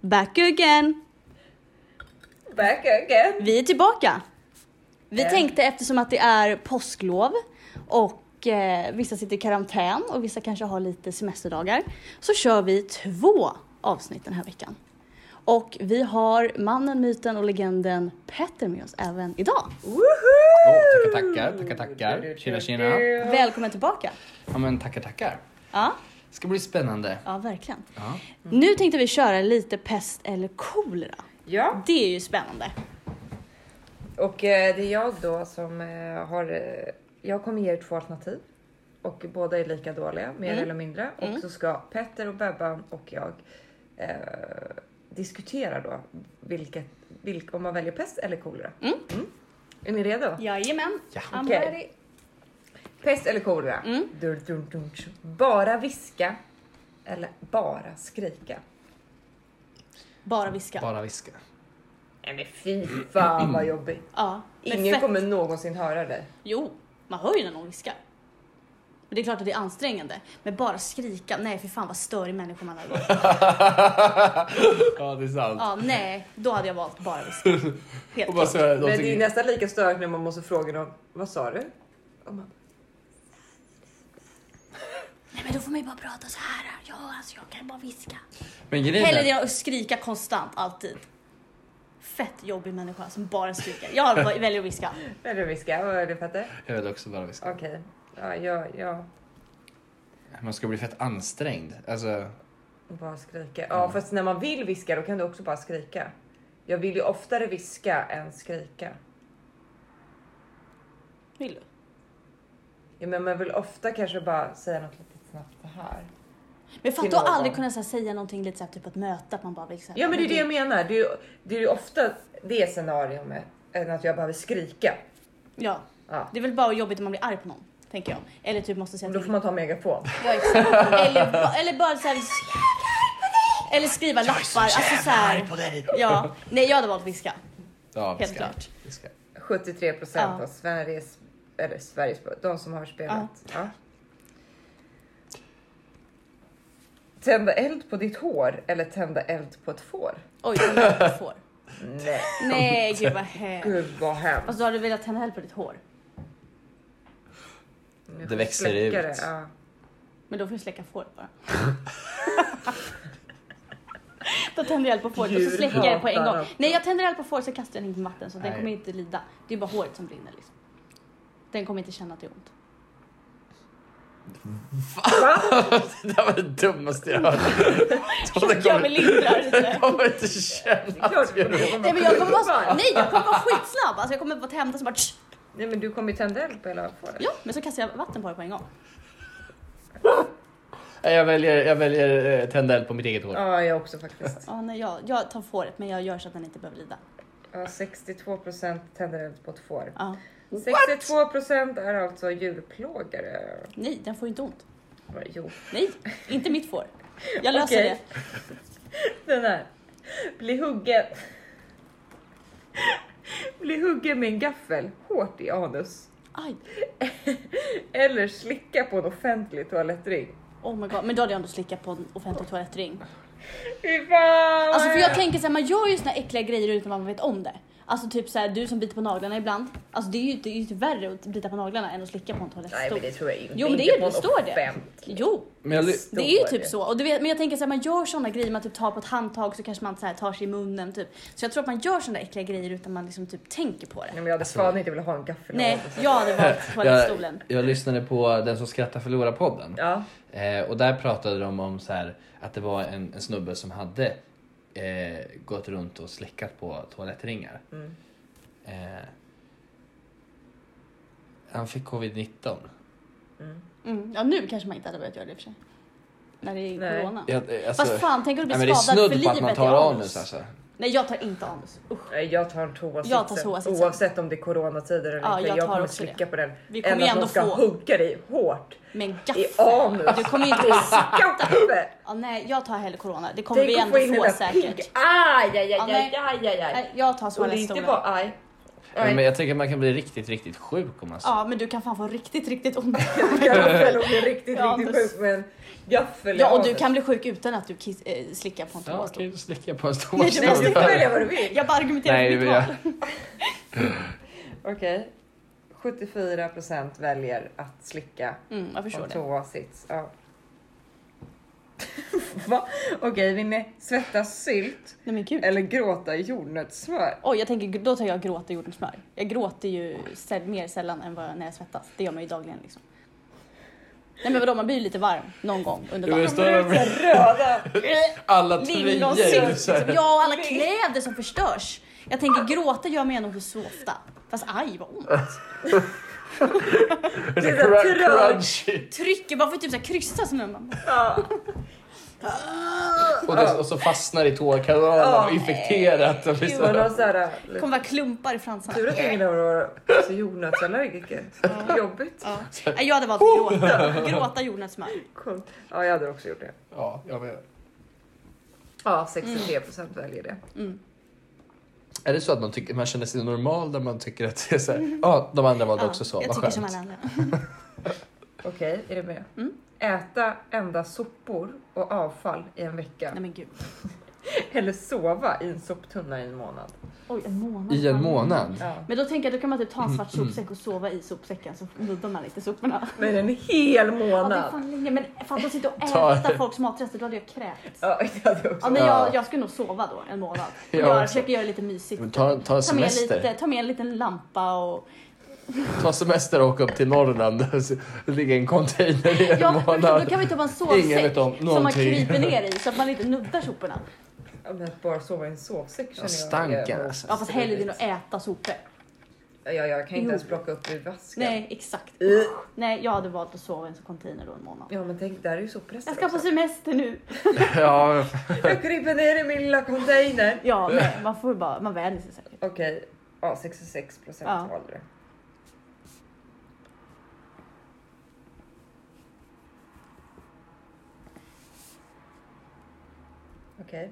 back again. Back again. Vi är tillbaka. Vi Eh. tänkte eftersom att det är påsklov och eh, vissa sitter i karantän och vissa kanske har lite semesterdagar så kör vi två avsnitt den här veckan. Och vi har mannen, myten och legenden Petter med oss även idag. Woho! Åh, tackar, tackar, tackar, tackar. Tjena, tjena. Välkommen tillbaka. Ja men tackar, tackar. Ja, Ska bli spännande. ja verkligen. Ja. Mm. Nu tänkte vi köra lite pest eller kolera. Ja, Det är ju spännande. och eh, det är jag då som eh, har... eh, Jag kommer ge er två alternativ. Och båda är lika dåliga, mer eller mindre. Och så ska Petter och Bebban och jag eh, diskutera då vilket, vilk, om man väljer pest eller kolera. Mm. Är ni redo? Jajamän. Ja. I'm Okej. ready. Pest eller kolera? Dur, dur, dur, dur. Bara viska eller bara skrika? Bara viska. Bara viska. Nej men fy fan vad jobbigt. Ja. men Ingen fett. kommer någonsin höra dig. Jo, man hör ju när någon viskar. Men det är klart att det är ansträngande. Men bara skrika, nej för fan vad störig människa man hade varit. Ja det är sant. Ja, nej, då hade jag valt bara viska. Helt Och bara klart. så här, de Men det är tycker, nästan lika störigt när man måste fråga någon, vad sa du? Och man, Nej men då får man ju bara prata så här. Ja, alltså jag kan bara viska. men grejen Hellre det är, än att skrika konstant, alltid. Fett jobbig människa som bara skriker. Jag hade bara- väljer att viska. Vill du viska? Vad är det Petter? jag vill också bara viska. Okej. Ja, ja, ja. Man ska bli fett ansträngd. Alltså, Bara skrika. Ja, fast när man vill viska då kan du också bara skrika. Jag vill ju oftare viska än skrika. Vill du? Ja, men man vill ofta kanske bara säga något lite snabbt så här. Men fatta Till att någon. aldrig kunna så här, säga någonting lite så här, typ att möta, att man bara vill så här, Ja, men det är det du- jag menar. Det är ju, det är ju ofta det scenariot med än att jag behöver skrika. Ja. Ja. Det är väl bara jobbigt om man blir arg på någon, tänker jag. Eller typ måste säga Då till. får man ta megafon. Ja, exakt. eller, ba- eller bara så här, Eller skriva lappar. Alltså så här, dig! ja. Nej, jag hade valt viska. Ja, Helt viska. klart. Viska. 73 procent Ja. av Sveriges, eller Sveriges, de som har spelat. Ja. Tända eld på ditt hår eller tända eld på ett får? Oj, vad mycket jag får. Nej, Nej, gud vad hemskt. gud vad hemskt. Alltså, då hade du velat tända eld på ditt hår. Nu Det växer släcker ut. det, Ja. Men då får du släcka fåret bara. då tänder jag eld på fåret och så Djur släcker jag det på en hatar gång. också. Nej, jag tänder eld på fåret så kastar jag den in i vatten så den Nej. kommer inte lida. Det är bara håret som brinner liksom. Den kommer inte känna att det är ont. Det där var det dummaste jag hört. De Chockar Jag mig lindrar lite. kommer inte känna Klart att du jag... kommer- Nej men jag kommer vara så, nej jag kommer vara skitsnabb. Alltså jag kommer vara tända så bara tsch. Nej men du kommer ju tända eld på hela fåret. Ja, men så kastar jag vatten på det på en gång. Nej, Jag väljer, jag väljer eh, tända eld på mitt eget hår. Ja, jag också faktiskt. Ja, nej, jag, jag tar fåret men jag gör så att den inte behöver lida. Ja, 62 procent tänder eld på ett får. Ja. 62 procent är alltså djurplågare. Nej, den får ju inte ont. Jo, Nej, inte mitt får. Jag löser Okej. det. Den här. Bli huggen. Bli huggen med en gaffel hårt i anus. Aj. Eller slicka på en offentlig toalettring. Oh my god, men då hade jag ändå slickat på en offentlig toalettring. Fy fan! Alltså för jag tänker såhär, man gör ju såna äckliga grejer utan att man vet om det. Alltså typ såhär, du som biter på naglarna ibland. Alltså det är ju inte, det är ju inte värre att bita på naglarna än att slicka på en Nej men toalettstol. det tror jag inte. Jo men det är Inte ju, det på en står det. offentlig. Jo, Men jag, ly- Det är ju Står typ det. så. Och du vet, men jag tänker så här, man gör såna grejer, man typ tar på ett handtag så kanske man så här, tar sig i munnen typ. Så jag tror att man gör såna äckliga grejer utan man liksom typ tänker på det. Nej, men jag hade fan inte velat ha en gaffel i Nej, anus. jag hade valt jag, toalettstolen. jag lyssnade på Den som skrattar förlorar podden. Ja. Eh, och där pratade de om så här, att det var en, en snubbe som hade eh, gått runt och slickat på toalettringar. Eh, han fick covid-19. Mm. Ja, nu kanske man inte hade börjat göra det i och för sig. När det är Nej. corona. Jag, eh, alltså, Fast fan, tänk om du nej, men blir det är skadad snudd för på att man livet i tar anus. anus alltså. Nej, jag tar inte anus. Usch. Nej, Jag tar en toasitsen. Jag tar toasitsen. Oavsett om det är coronatider eller Ja, inte. jag Jag, tar kommer också slicka det. på den. Vi kommer Än ju att ändå någon ska få- hugga dig hårt. Men I gaffel. anus. Du kommer ju inte... Gaffel! Ja, nej, jag tar hellre corona. Det kommer Tänk vi att få ändå in den få där pigg. säkert. Aj, aj, aj, Ja, aj, nej. aj, aj, aj. Nej, jag tar Och det är inte toalettstolen. bara aj. Nej. Men jag tänker att man kan bli riktigt, riktigt sjuk om man Ja, men du kan fan få riktigt, riktigt ont. Gaffel och blir riktigt, Ja, riktigt Anders. sjuk med en gaffel i Ja, och du havet. kan bli sjuk utan att du kiss, eh, slickar på en Ja, toastol. okej, då slickar jag på en stor Nej, det Du måste stol. inte välja vad du vill. Jag bara argumenterar Nej, för mitt jag- val. Okej. 74% väljer att slicka Mm, jag förstår och det. toa sits. Ja. Va? Okej, vill ni svettas sylt Nej men gud. eller gråta jordnötssmör? Oj, jag tänker, då tar jag gråta jordnötssmör. Jag gråter ju säll- mer sällan än vad, när jag svettas. Det gör man ju dagligen liksom. Nej men vadå, man blir ju lite varm någon gång under Jo, dagen. just det. Kommer ut så här Röda. Alla tröjor! Lingonsylt, så liksom. här. ja och alla kläder som förstörs. Jag tänker gråta gör man ju nog så ofta. Fast aj vad ont. Det är så cru- trög. crunchy. Trycker bara för typ såhär kryssa som en man. Ja. Och, det, och så fastnar i tårkanalen och Ja. infekterat. Och liksom- blir så Och här- någon så här, liksom, Kommer vara klumpar i fransarna. Tur att ingen av våra alltså, jordnötsallergiker. Jobbigt. Ja. Nej, jag hade valt att gråta. Gråta jordnötssmör. Coolt. Ja, jag hade också gjort det. Ja, jag vet. Ja, 63% väljer det. Är det så att man, tycker, man känner sig normal där man tycker att det är så här, ja, de andra valde Mm. Ja, också så, jag vad tycker som alla skönt. andra. Okej, är du med? Mm. Äta endast sopor och avfall i en vecka. Nej men gud. Eller sova i en soptunna i en månad. Oj, en månad. I en månad? Mm. Ja. Men då tänker jag, då kan man typ ta en svart sopsäck och sova i sopsäcken så nuddar man inte soporna. Men en hel Ja, det är månad! fan länge. Men fan, att sitta och Ta- äta folks matrester, då hade jag kräkts. Ja, det hade jag också. Ja, men Ja. jag, jag skulle nog sova då en månad. Ja, jag också. försöker göra det lite mysigt. Men Ta, ta en Ta med, semester. lite, ta med en liten lampa och... Ta semester och åka upp till Norrland. Det ligger en container i en Ja, men då månad. kan vi ta en Ingen sovsäck vet om som man någonting. kryper ner i så att man inte nuddar soporna. Ja, men att bara sova i en sovsäck känner Ja, jag. stanken är- alltså. Ja, fast hellre än att äta sopor. Ja, jag kan inte Jo. ens plocka upp ur vasken. Nej, exakt. Nej, jag hade valt att sova i en sån container då en månad. Ja, men tänk, där är ju Jag soprester ska på också. semester nu. Ja, Jag kryper ner i min lilla container. Ja, nej, man får ju bara, man vänjer sig säkert. Okej, ja, 66% Ja. valde det. Okej.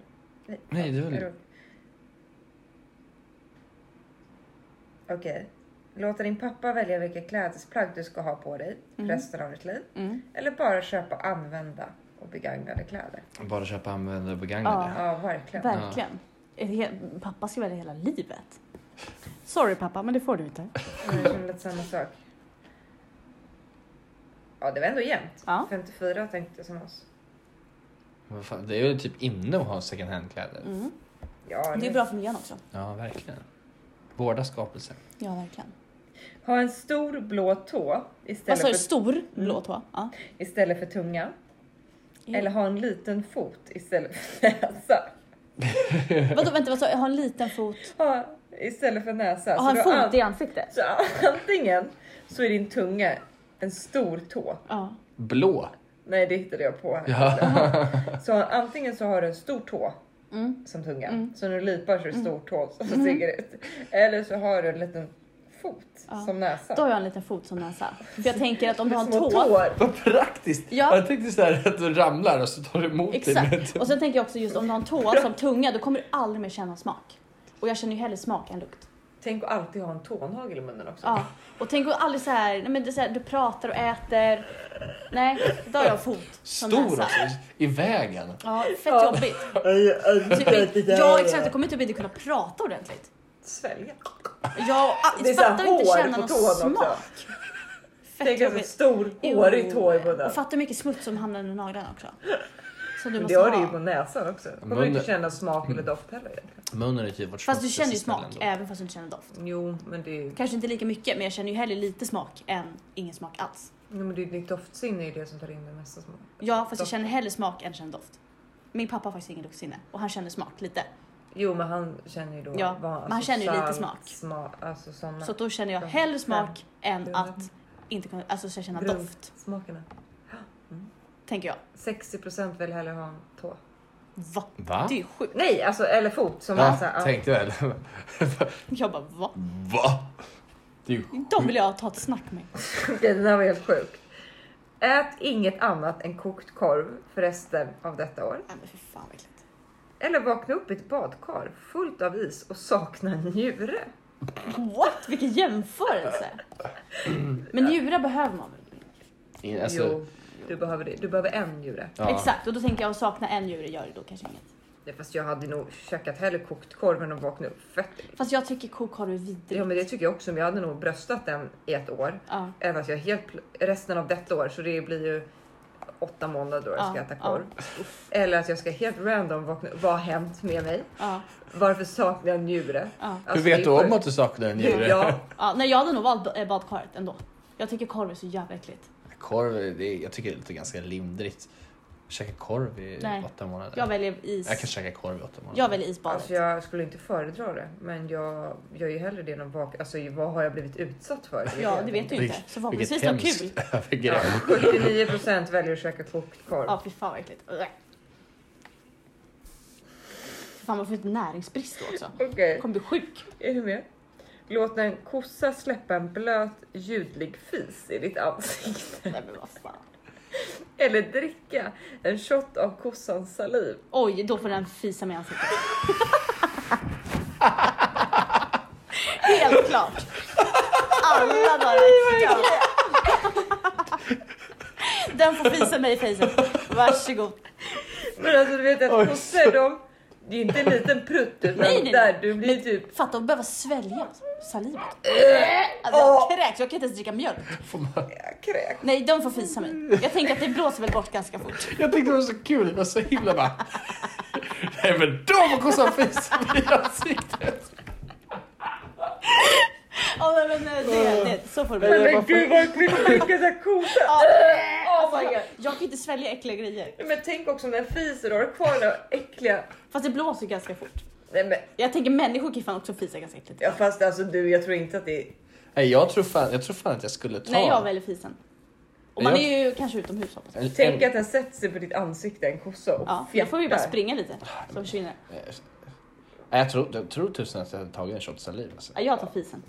Nej, det var- är Okej. Låta din pappa välja vilka klädesplagg du ska ha på dig resten av ditt liv. Mm. Eller bara köpa använda och begagnade kläder. bara köpa användare och begagnade. Ja, verkligen. Verkligen. Ett he- Pappa ska välja hela livet. Sorry pappa, men det får du inte. Nej, Jag känner lite samma sak. Ja, det var ändå jämnt. Ja. 54 tänkte som oss. Vad fan, det är ju typ inne att ha second hand-kläder. Mm. Ja, Det nu- är bra för miljön också. Ja, verkligen. Vårda skapelsen. Ja, verkligen. Ha en stor blå tå Vad istället, sa du? för, Stor blå tå? Ja. istället för tunga. Ja. Eller ha en liten fot istället för näsa. Eh, Vadå, vänta, vad sa jag? Ha en liten fot. Ha, istället för näsa. Ha en då fot an- i ansiktet? så antingen så är din tunga en stor tå. Ja. Blå. Nej, det hittade jag på. Så antingen så har du en stor tå Mm. som tunga, så när du lipar så är det stor tå som sticker ut. Eller så har du en liten fot som näsa. Då har jag en liten fot som näsa. För jag tänker att om du har en tå. Små tår. Vad praktiskt! Ja. Jag tänkte så här att du ramlar och så tar du emot dig med Exakt. Och sen tänker jag också just om du har en tå som tunga, då kommer du aldrig mer känna smak. Och jag känner ju hellre smak än lukt. Tänk att alltid ha en tånagel i munnen också. Ja. Och tänk att aldrig så här, nej men det är så här, du pratar och äter. Nej, då har jag en fot som Stor näsa. också, i vägen. Ja, fett jobbigt. Typ, ja, Ja, exakt. Du kommer typ inte kunna prata ordentligt. Svälja. Jag Det är ah, så här fattar inte hår känna på någon tån också. smak. Fett Tänk alltså en jobbigt. stor hårig tå i munnen. Och fattar hur mycket smuts som hamnar under naglarna också. Så du Men måste det har du ju på ha. näsan också. Kommer du Munnen- inte känna smak eller doft heller egentligen. Munnen är typ vårt Fast du känner ju smutsigaste smak ställe ändå. även fast du inte känner doft. Jo, men det är ju Kanske inte lika mycket men jag känner ju hellre lite smak än ingen smak alls. nej, men det är ju ditt doftsinne är ju det som tar in det mesta smak. Ja fast jag Doft. känner hellre smak än känner doft. Min pappa har faktiskt ingen luktsinne och han känner smak lite. Jo, men han känner ju då. Ja, vad- men han känner ju lite smak. smak alltså såna. Så då känner jag Ja. hellre smak än Grunderna. att inte kunna, alltså så jag känner Grund- doft. Smakerna. Tänker jag. 60 vill hellre ha en tå. Va? Va? Det är ju sjukt. Nej, alltså eller fot som Ja, näsa. Ja. tänkte väl. Jag bara va? Va? Det är ju De vill jag ta ett snack med. Okej, den här var helt sjuk. Ät inget annat än kokt korv för resten av detta år. Nej men för fan vad äckligt. Eller vakna upp i ett badkar fullt av is och sakna en njure. What? Vilken jämförelse! Men njure behöver man väl? In- Alltså, jo, du behöver det. Du behöver en njure. ja. Exakt, och då tänker jag att sakna en njure gör det då kanske inget. Ja, fast jag hade nog käkat hellre kokt korv än att vakna upp fett. Fast jag tycker kokkorv är vidrigt. Ja, men det tycker jag också. Men jag hade nog bröstat den i ett år. Ja. Än att jag helt pl- resten av detta år, så det blir ju åtta månader då jag ska Ja, äta ja. korv. Eller att jag ska helt random vakna Vad har hänt med mig? Ja, Varför saknar jag en njure? Ja. Hur Alltså, det är vet du om sjukt. att du saknar en njure? Ja, ja. Nej, jag hade nog valt ba- eh, badkaret ändå. Jag tycker korv är så jävla äckligt. Korv, det är, jag tycker det låter ganska lindrigt. Käka korv i Nej. åtta månader. Jag väljer is. Jag kan käka korv i åtta månader. Jag väljer isbadet. alltså jag skulle inte föredra det, men jag gör ju hellre det än att vakna. Alltså vad har jag blivit utsatt för? Ja, det vet du ju inte. Vilket- Så förhoppningsvis var det kul. övergrepp. 79% väljer att käka kokt korv. Ja, fy fan vad äckligt. Ugh. Fy Fan, man får inte näringsbrist då också. Okej, Jag kommer bli sjuk. är du med? Låt en kossa släppa en blöt ljudlig fis i ditt ansikte. Nej, men vad fan. Eller dricka en shot av kossans saliv. Oj, då får den fisa mig i ansiktet. Helt klart. Alla bara ska. Den får fisa mig i fejsen. Varsågod. Men alltså du vet Oj, att kossor de, det är inte en liten prutt utan Nej, nej, där nej. du blir typ... Fatta att behöva svälja salivet. Alltså, jag kräks, jag kan inte ens dricka mjölk. Får man- Jag kräks. Nej, de får fisa mig. Jag tänker att det blåser väl bort ganska fort. Jag tyckte det var så kul, det var så himla bara... Nej men då får kossan fisa mig i ansiktet! Ja, men, men eh, det, det, så får det Men, bli. bara- gud vad äckligt att dricka såhär kossa. Ja, Oh my alltså, God. jag kan inte svälja äckliga grejer. Men tänk också om den fiser och har kvar den här äckliga... Fast det blåser ganska fort. Nej men Jag tänker människor kan fan också fisa ganska äckligt. ja, fast alltså du jag tror inte att det är... Nej jag tror, fan, jag tror fan att jag skulle ta... Nej, jag väljer fisen. Och man Jag- är ju kanske utomhus hoppas jag. en- Tänk en- att den sätter sig på ditt ansikte en kossa och Ja, jag får ju bara fjärtar. springa lite så försvinner det. Nej, jag, tror, jag tror tusen att jag hade tagit en shot saliv alltså. Ja, Jag tar fisen.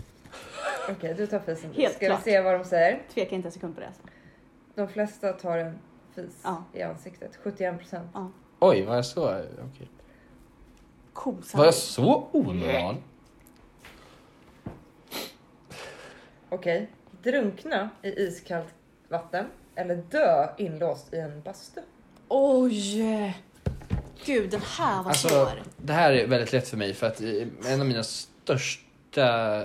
Okej du tar fisen. Helt Ska klart. vi se vad de säger. Tveka inte en sekund på det. Alltså. De flesta tar en fis Ja. i ansiktet. 71%. Oj, var jag så... okej. Var Kosan. jag så omoral? Okej. Drunkna i iskallt vatten eller dö inlåst i en bastu. Oj! Gud, den här var Alltså, svår. det här är väldigt lätt för mig för att eh, en av mina största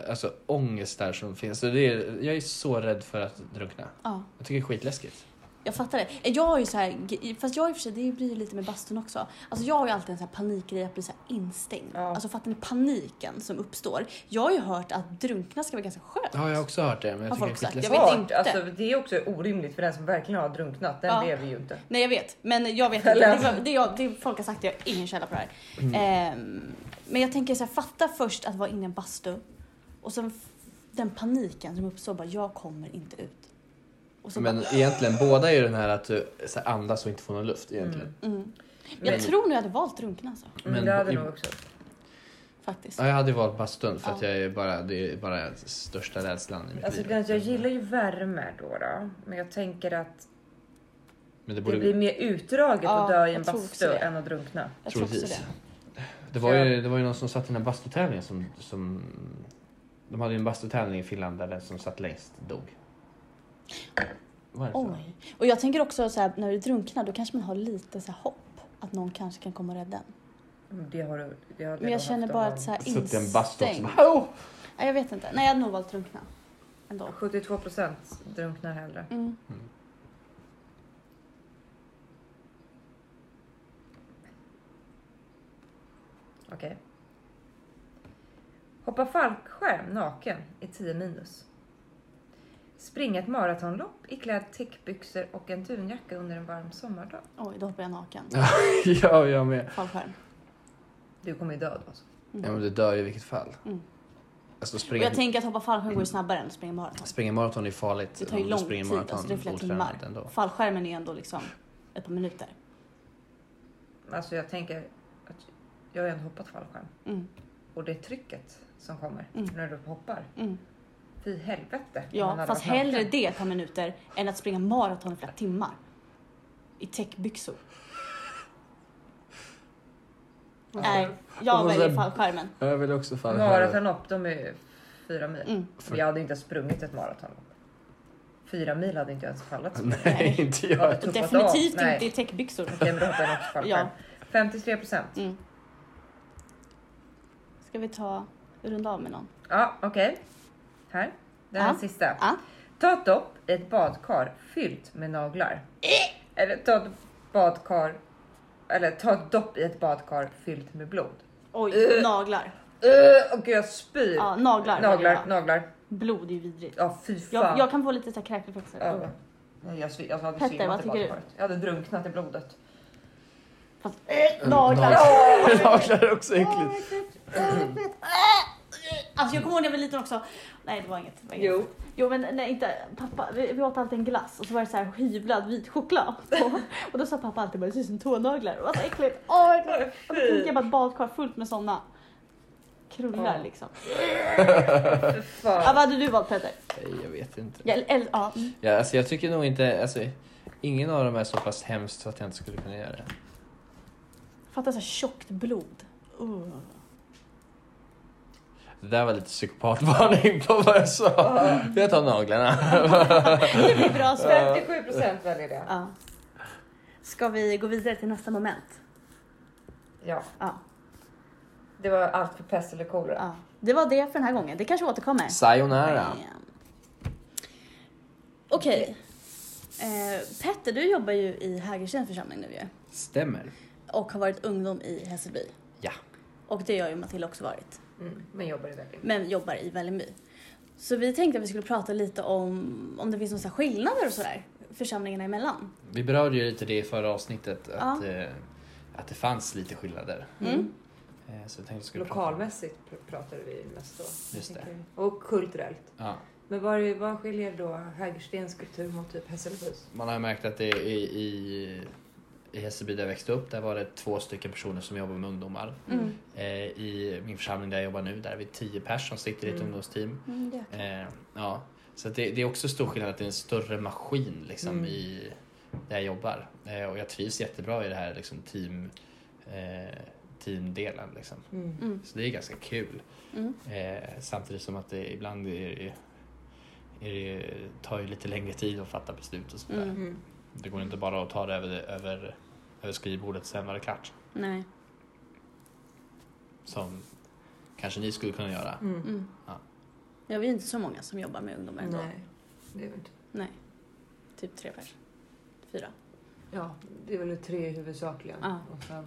alltså, ångestar som finns, och det är, jag är så rädd för att drunkna. Ja, Jag tycker det är skitläskigt. jag fattar det. Jag har ju så här, fast jag i och för sig, det blir ju lite med bastun också. Alltså jag har ju alltid en sån här panikgrej att bli så här instängd. Ja. Alltså fattar ni paniken som uppstår? Jag har ju hört att drunkna ska vara ganska skönt. Det har jag också hört det, men jag Har tycker det är folk sagt? Jag skitläskigt. vet Smart. inte. Alltså, det är också orimligt för den som verkligen har drunknat. Den Ja. lever ju inte. Nej jag vet, men jag vet inte. Eller- Det, var- det, jag, det folk har sagt, jag har ingen källa på det här. Mm. Ehm, men jag tänker så här, fatta först att vara inne i en bastu och sen f- den paniken som uppstår, bara jag kommer inte ut. Och så Men bara, egentligen, båda är ju den här att du så här, andas och inte får någon luft egentligen. mm. Men jag men- tror nu jag hade valt drunkna alltså, Mm, Men det hade i- nog också. faktiskt. Ja, jag hade ju valt bastun för att Ja. jag är bara, det är bara största rädslan i mitt Alltså, liv. Glenn, jag gillar ju värme då, då. Men jag tänker att Men det det borde blir mer utdraget Ja, att dö i en jag tror också bastu det. än att drunkna. Jag tror också troligtvis. det. Det var, ju, Ja. det var ju någon som satt i den här bastutävlingen som, som... De hade ju en bastutävling i Finland där den som satt längst dog. Var det så? Oj. Och jag tänker också så här, när du drunknar då kanske man har lite så här hopp att någon kanske kan komma och rädda en. Mm, Det har du. Det har Men jag känner bara att så här Suttit i en bastu också. instängd. bara, "Hallå!" Nej, jag vet inte. Nej, jag hade nog valt drunkna. Ändå. 72% drunknar hellre. Mm. Okej. Hoppa fallskärm naken i 10 minus. Springa ett maratonlopp iklädd täckbyxor och en dunjacka under en varm sommardag. Oj, då hoppar jag naken. ja, jag med. Fallskärm. Du kommer ju dö då. Alltså. Ja, men du dör ju i vilket fall. Mm. Alltså Och springa, jag tänker att hoppa fallskärm går ju snabbare än att springa maraton. springa maraton är farligt. Det tar ju Om du lång springer tid, maraton alltså det är flera otränad timmar. Ändå. Fallskärmen är ju ändå liksom ett par minuter. alltså jag tänker att jag har ju ändå hoppat fallskärm. Mm, Och det trycket som kommer Mm. när du hoppar. mm. Fy helvete. om man Ja, hade fast varit naken. hellre det ett par minuter än att springa maraton i flera timmar. I täckbyxor. Nej, jag Och så- väljer fallskärmen. Ja, Jag vill också fallskärm. Maratonlopp, de är Fyra mil. Mm. För- Jag hade inte ens sprungit ett maraton. Fyra mil hade inte jag ens fallit. Nej, inte Jag hade jag. tuppat Definitivt av. Nej. inte i täckbyxor. Okej, men då hoppade jag också fall Ja. själv. 53 procent. Mm. Ska vi ta runda av med någon? Ja, okej. Här. Den här Ja. sista. Ja. Ta ett dopp i ett badkar fyllt med naglar. Eh! Eller ta ett badkar... Eller ta ett dopp i ett badkar fyllt med blod. Eh. Oj, naglar. Uh, och jag spyr. Eh! Ja, naglar. Naglar, naglar. Blod är ju vidrigt. Ja, fy fan. Jag, jag kan få lite så här kräkreflexer. Ja. Nej, jag, svi- jag hade Petter, svimmat vad i tycker du? badkaret. Jag hade drunknat i blodet. Fast, eh, naglar. Naglar är också äckligt. Alltså jag kommer ihåg när jag var liten också. Nej det var inget. Det var inget. Jo. Jo men nej inte. Pappa, vi, vi åt alltid en glass och så var det så här hyvlad vit choklad. på. och då sa pappa alltid bara det ser ut som tånaglar. Och vad så äckligt. Åh vad äckligt. Och då tänker jag bara ett badkar fullt med sådana krullar Ja. liksom. Fy fan. Ja, vad hade du valt Peter? Nej, jag vet inte. Ja, eller- eller- ja. mm. Ja, alltså jag tycker nog inte, alltså, ingen av dem är så pass hemskt så att jag inte skulle kunna göra det. Fatta så här tjockt blod. Uh. Det där var lite psykopatvarning på vad jag sa. Jag tar naglarna. Det blir bra spel. 57 procent väljer det. Ja. Ska vi gå vidare till nästa moment? Ja, Ja. det var allt för pest eller kolera. ja. Det var det för den här gången. Det kanske återkommer. Sayonara. Ehm. Okej. Eh, Petter, du jobbar ju i Hägerstens församling nu ju. Stämmer. Och har varit ungdom i Hässelby. Ja. Och det har ju Matilda också varit. Mm, men jobbar i verkligen. Men jobbar i Vällingby. Så vi tänkte att vi skulle prata lite om om det finns några skillnader och sådär församlingarna emellan. Vi berörde ju lite det i förra avsnittet att, Ja. eh, att det fanns lite skillnader. Mm. Eh, så jag tänkte vi skulle prata om- Lokalmässigt pr- pratade vi mest då. Just det. tänker jag. Och kulturellt. Ja. Men vad, vad skiljer då Hägerstens kultur mot typ Hässelbys? Man har ju märkt att det i, i, i Hässelby där jag växte upp, där var det två stycken personer som jobbade med ungdomar. Mm. Eh, I min församling där jag jobbar nu, där är vi tio personer som sitter i ett Mm. ungdomsteam. Mm, det. Eh, ja. Så att det, det är också stor skillnad att det är en större maskin liksom, Mm. i, där jag jobbar. Eh, och jag trivs jättebra i det här liksom, team, eh, teamdelen. Liksom. Mm. Mm. Så det är ganska kul. Mm. Eh, samtidigt som att det ibland är, är, det- tar ju lite längre tid att fatta beslut och sådär. Mm. Mm. Det går inte bara att ta det över, över, över skrivbordet sen var det klart. Nej. Som kanske ni skulle kunna göra. Mm. Mm. Ja. Jag är ju inte så många som jobbar med ungdomar ändå. Nej, det är väl inte. Nej. Typ tre pers. Fyra. Ja, det är väl tre huvudsakligen. Ja. Och sen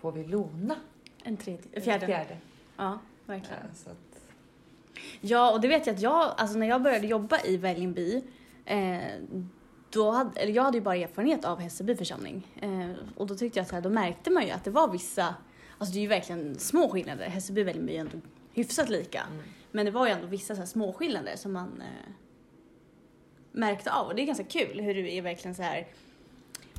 får vi Lona. En tredje. Fjärde. Fjärde. Ja, verkligen. Ja, så att, Ja, och det vet jag att jag, alltså när jag började jobba i Vällingby, eh, då hade, eller jag hade ju bara erfarenhet av Hässelby församling. Eh, och då tyckte jag så här, då märkte man ju att det var vissa, alltså det är ju verkligen små skillnader. Hässelby och Vällingby är ju ändå hyfsat lika. mm. Men det var ju ändå vissa så här små skillnader som man eh, märkte av. Och det är ganska kul hur det är verkligen så här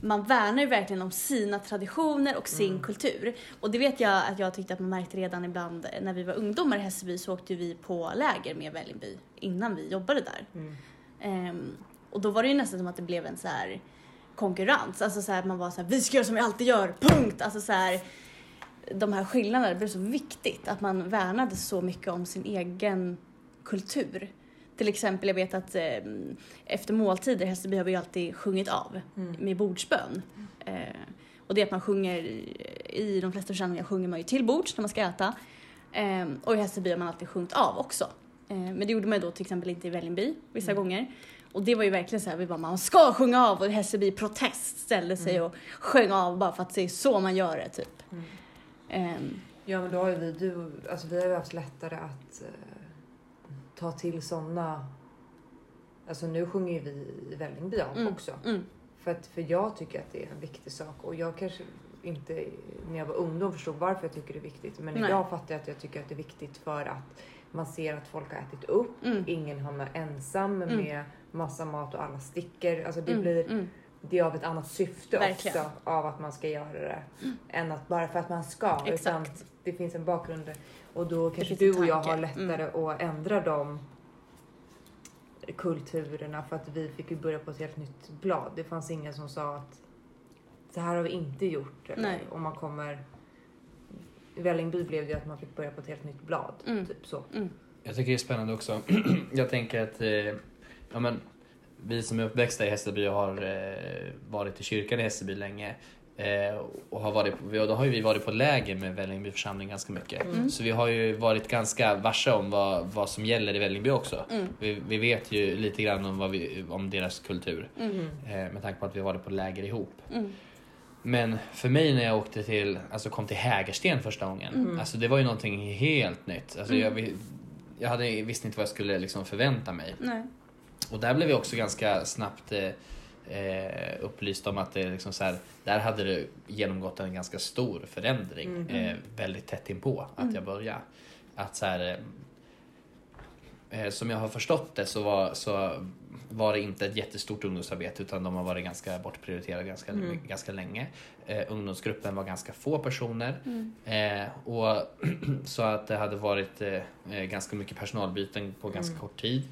man värnar ju verkligen om sina traditioner och sin Mm. kultur. Och det vet jag att jag tyckte att man märkte redan ibland eh, när vi var ungdomar i Hässelby så åkte vi på läger med Vällingby innan vi jobbade där. Mm. Ehm, och då var det ju nästan som att det blev en så här konkurrens. Alltså så här att man var så här, vi ska göra som vi alltid gör, punkt! Alltså så här, de här skillnaderna, det blev så viktigt att man värnade så mycket om sin egen kultur. Till exempel, jag vet att eh, efter måltider, Hässelby har vi ju alltid sjungit av Mm. med bordsbön. Eh, och det är att man sjunger, i de flesta församlingar sjunger man ju till bords när man ska äta. Eh, och i Hässelby har man alltid sjungit av också. Eh, men det gjorde man ju då till exempel inte i Vällingby vissa Mm. gånger. Och det var ju verkligen så här, vi bara, man ska sjunga av och Hässelby i protest ställde sig och sjöng av bara för att det är så man gör det typ. Mm. Ehm, Ja, men då har ju vi, du, alltså vi har ju haft lättare att eh, ta till sådana. Alltså nu sjunger ju vi i Vällingby om Mm. också. mm, För, att, för jag tycker att det är en viktig sak och jag kanske inte när jag var ungdom förstod varför jag tycker det är viktigt. Men Nej. idag fattar jag att jag tycker att det är viktigt för att man ser att folk har ätit upp. mm, Ingen hamnar ensam Mm. med massa mat och alla sticker. Alltså det mm, blir mm, det är av ett annat syfte Verkligen. Mm. också av att man ska göra det än att bara för att man ska. Utan Exakt. det finns en bakgrund och då kanske finns en du och jag tanke. Mm. har lättare att ändra de kulturerna för att vi fick ju börja på ett helt nytt blad. Det fanns ingen som sa att så här har vi inte gjort. Nej. Eller om man kommer i Vällingby blev det ju att man fick börja på ett helt nytt blad. Mm. Typ så. mm. Jag tycker det är spännande också. jag tänker att eh, ja, men, vi som är uppväxta i Hässelby och har eh, varit i kyrkan i Hässelby länge eh, och har varit, på- och då har ju vi varit på läger med Vällingby församling ganska mycket. Så vi har ju varit ganska varse om vad, vad som gäller i Vällingby också. Mm, Vi, vi vet ju lite grann om, vad vi, om deras kultur Mm. eh, med tanke på att vi har varit på läger ihop. Men för mig när jag åkte till, alltså kom till Hägersten första gången, alltså det var ju någonting helt nytt. Alltså jag, vi- jag hade, visste inte vad jag skulle liksom förvänta mig. Nej. Och där blev jag också ganska snabbt eh, eh, upplyst om att det liksom så här, där hade det genomgått en ganska stor förändring eh, väldigt tätt inpå att jag började. Att så här, eh, eh, som jag har förstått det så var, så var det inte ett jättestort ungdomsarbete utan de har varit ganska bortprioriterade ganska, ganska länge. Eh, ungdomsgruppen var ganska få personer. mm, Eh, och så att det hade varit eh, eh, ganska mycket personalbyten på ganska kort tid.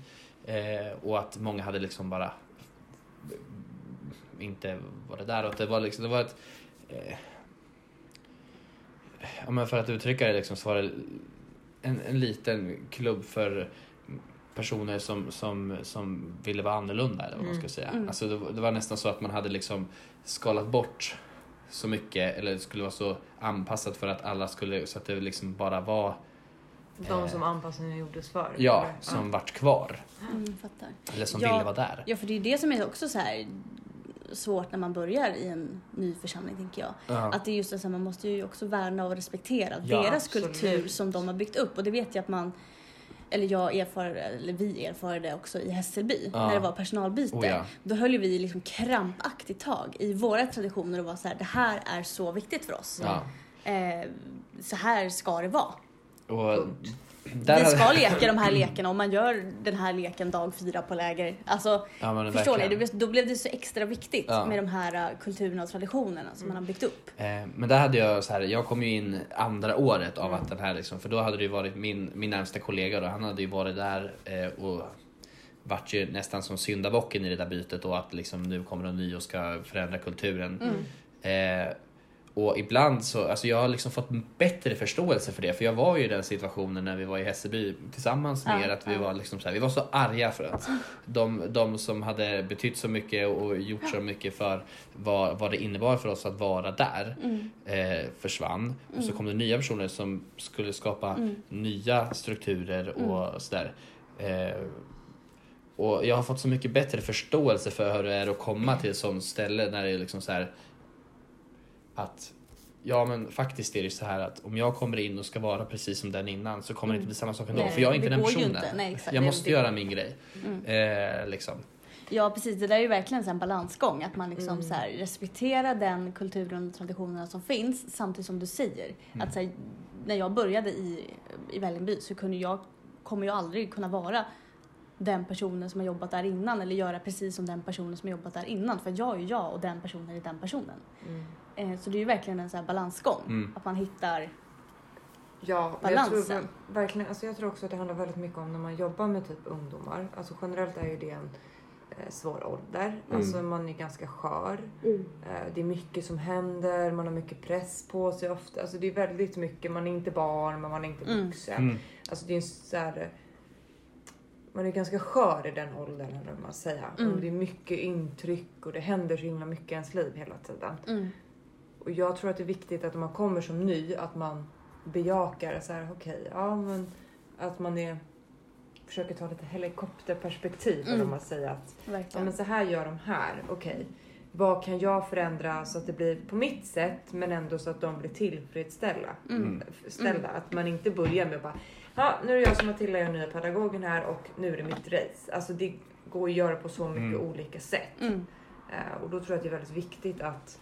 Eh, och att många hade liksom bara inte var det där. Och att det var liksom, det var ett, eh, ja, men för att uttrycka det liksom, så var det en, en liten klubb för personer som, som, som ville vara annorlunda eller vad man ska säga. Mm. Alltså det, var- det var nästan så att man hade liksom skalat bort så mycket eller det skulle vara så anpassat för att alla skulle så att det liksom bara var De som anpassningen gjordes för. Eh. ja eller? som vart kvar Mm, fattar. eller som Ja. ville vara där. Ja, för det är ju det som är också så här svårt när man börjar i en ny församling, tänker jag. Ja. Att det är just det, så här, man måste ju också värna och respektera Ja, deras absolut. kultur som de har byggt upp. Och det vet jag att man, eller jag erfar, eller vi erfar det också i Hässelby, Ja. när det var personalbyte. Oh, ja. Då höll ju vi liksom krampaktigt tag i våra traditioner och var så här, det här är så viktigt för oss. Ja. Eh, så här ska det vara. Och vi där ska hade- leka de här lekerna om man gör den här leken dag fyra på läger. Alltså, Ja, men förstår ni? verkligen. Det blev, då blev det så extra viktigt Ja. med de här uh, kulturerna och traditionerna som man har byggt upp. Eh, Men där hade jag så här, jag kom ju in andra året av att den här liksom, för då hade det ju varit min, min närmsta kollega då, han hade ju varit där eh, och vart ju nästan som syndabocken i det där bytet och att liksom nu kommer de ny och ska förändra kulturen. Mm. Eh, och ibland så, alltså jag har liksom fått bättre förståelse för det för jag var ju i den situationen när vi var i Hässelby tillsammans med Ja, er att vi ja. var liksom så här, vi var så arga för att de, de som hade betytt så mycket och gjort så mycket för vad, vad det innebar för oss att vara där eh, försvann. Och Mm. så kom det nya personer som skulle skapa nya strukturer och Mm. sådär. Eh, och jag har fått så mycket bättre förståelse för hur det är att komma till ett sånt ställe när det är liksom så här att ja men faktiskt är det så här att om jag kommer in och ska vara precis som den innan så kommer det inte bli samma sak ändå Mm. Nej, för jag är inte det den går ju personen. inte. Nej, exakt. jag Det- måste det- göra min grej. Eh, liksom. Ja precis, det där är ju verkligen så här en balansgång. Att man liksom så här, respekterar den kulturen och traditionerna som finns samtidigt som du säger. Mm. Att så här, när jag började i, i Vällingby så kunde jag, kommer jag aldrig kunna vara den personen som har jobbat där innan eller göra precis som den personen som har jobbat där innan. För jag är ju jag och den personen är den personen. Mm. Eh, Så det är ju verkligen en så här balansgång. Att man hittar... Ja, men jag tror, Balansen. verkligen, alltså jag tror också att det handlar väldigt mycket om när man jobbar med typ ungdomar. Alltså generellt är ju det en eh, svår ålder. Alltså man är ganska skör. Eh, det är mycket som händer, man har mycket press på sig ofta. Alltså det är väldigt mycket, man är inte barn men man är inte vuxen. Mm. Alltså det är en så här, man är ganska skör i den åldern eller vad man säger. Och det är mycket intryck och det händer så himla mycket i ens liv hela tiden. Mm, Och jag tror att det är viktigt att när man kommer som ny att man bejakar så här, okej, ja men att man är försöker ta lite helikopterperspektiv eller om man säger att ja, Verkligen. men så här gör de här, okej. Vad kan jag förändra så att det blir på mitt sätt men ändå så att de blir tillfredsställda? Mm, Ställda. Att man inte börjar med att bara, ja nu är det jag som Matilda, jag är nya pedagogen här och nu är det mitt race. Alltså det går att göra på så mycket olika sätt. mm, Eh, och då tror jag att det är väldigt viktigt att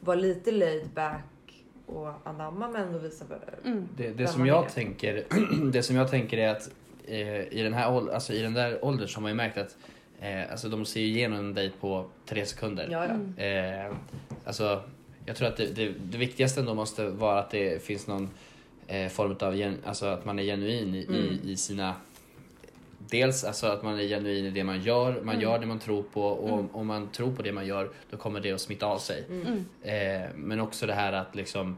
vara lite laid back och anamma men ändå visa Mm. Det, det, Vem som man jag är. tänker, det som jag tänker är att eh, i, den här, ål- alltså, i den där åldern så har man ju märkt att eh, alltså, de ser ju igenom dig på tre sekunder. Ja, ja. mm, Eh, alltså, jag tror att det, det, det viktigaste ändå måste vara att det finns någon eh, form av, gen, alltså att man är genuin i, i, i sina Dels alltså att man är genuin i det man gör, man gör det man tror på och om, om man tror på det man gör då mm. kommer det att smitta av sig. Eh, men också det här att liksom